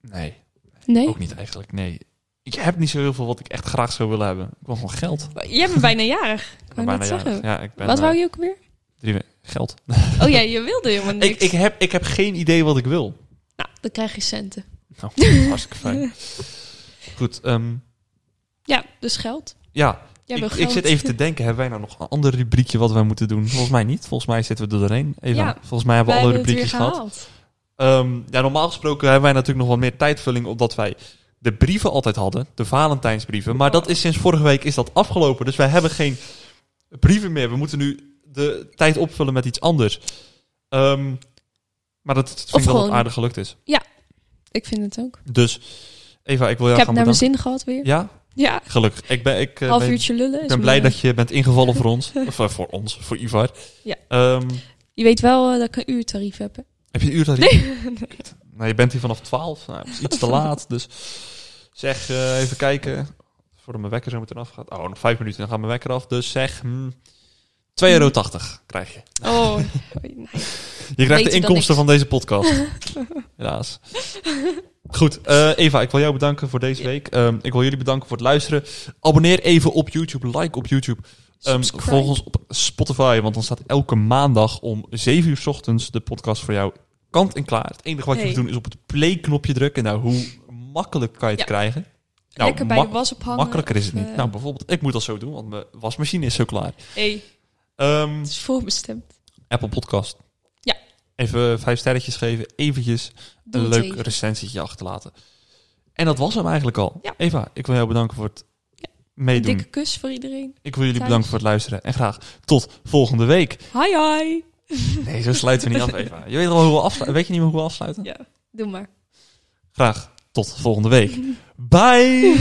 nee, Nee? ook niet eigenlijk. Nee. Ik heb niet zo heel veel wat ik echt graag zou willen hebben. Ik wil gewoon geld. Jij bent bijna jarig. Ik wou ben net jarig. zeggen. Ja, ik ben Wat eh, wou je ook weer? drie we- Geld. Oh ja, je wilde helemaal niks. Ik, ik, heb, ik heb geen idee wat ik wil. Nou, dan krijg je centen. Nou, dat [laughs] is hartstikke fijn. Goed, ehm, Ja, dus geld. ja. Jij ik, wil ik geld. zit even [laughs] te denken, hebben wij nou nog een ander rubriekje wat wij moeten doen? Volgens mij niet. Volgens mij zitten we er doorheen. Eva, Ja. volgens mij hebben Wij we alle hebben het weer rubriekjes gehad. gehaald. Ehm, ja, normaal gesproken hebben wij natuurlijk nog wat meer tijdvulling omdat wij de brieven altijd hadden, de Valentijnsbrieven. Maar dat is sinds vorige week is dat afgelopen. Dus wij hebben geen brieven meer. We moeten nu de tijd opvullen met iets anders. Ehm, maar dat vind ik wel dat gewoon- het aardig gelukt is. Ik vind het ook. Dus Eva, ik wil jou ik heb gaan naar mijn bedanken. zin gehad weer. Ja, Ja, gelukkig. Ik ben, ik, eh, half ben, uurtje dus lullen. ik is ben me- blij dat je bent ingevallen voor [laughs] ons. Of eh, voor ons, voor Ivar. Ja. Ehm, Je weet wel eh, dat ik een uurtarief heb. hè? Heb je een uurtarief? [laughs] Nee. Nou, je bent hier vanaf 12. Nou, het is iets te laat. Dus zeg, eh, even kijken. Voordat mijn wekker zo meteen afgaat. Oh, nog vijf minuten, dan gaat mijn wekker af. Dus zeg, hmm, 2,80 euro krijg je. [laughs] Oh, nee. Je krijgt dan de inkomsten niks. van deze [laughs] podcast. Helaas. Goed, eh, Eva, ik wil jou bedanken voor deze Ja. week. Ehm, ik wil jullie bedanken voor het luisteren. Abonneer even op YouTube, like op YouTube. Ehm Subscribe. volg ons op Spotify, want dan staat elke maandag om 7 uur 's ochtends de podcast voor jou kant en klaar. Het enige wat je Hey. moet doen is op het play-knopje drukken. Nou, hoe makkelijk kan je het Ja. krijgen? Lekker bij de Nou, mak- was ophangen. makkelijker is het of, niet. eh, Nou, bijvoorbeeld, ik moet dat zo doen, want mijn wasmachine is zo klaar. hey, Ehm, het is voorbestemd. Apple Podcast. Ja. Even vijf sterretjes geven, eventjes Doe een het leuk even. recensietje achterlaten. En dat was hem eigenlijk al. Ja. Eva, ik wil jou bedanken voor het Ja. Een meedoen. dikke kus voor iedereen. Ik wil jullie thuis. bedanken voor het luisteren. En graag tot volgende week. Hi, hi. Nee, zo sluiten we niet af, Eva. Je weet, al hoe we afsluiten. weet je niet meer hoe we afsluiten? Ja, doe maar. Graag tot [laughs] volgende week. Bye!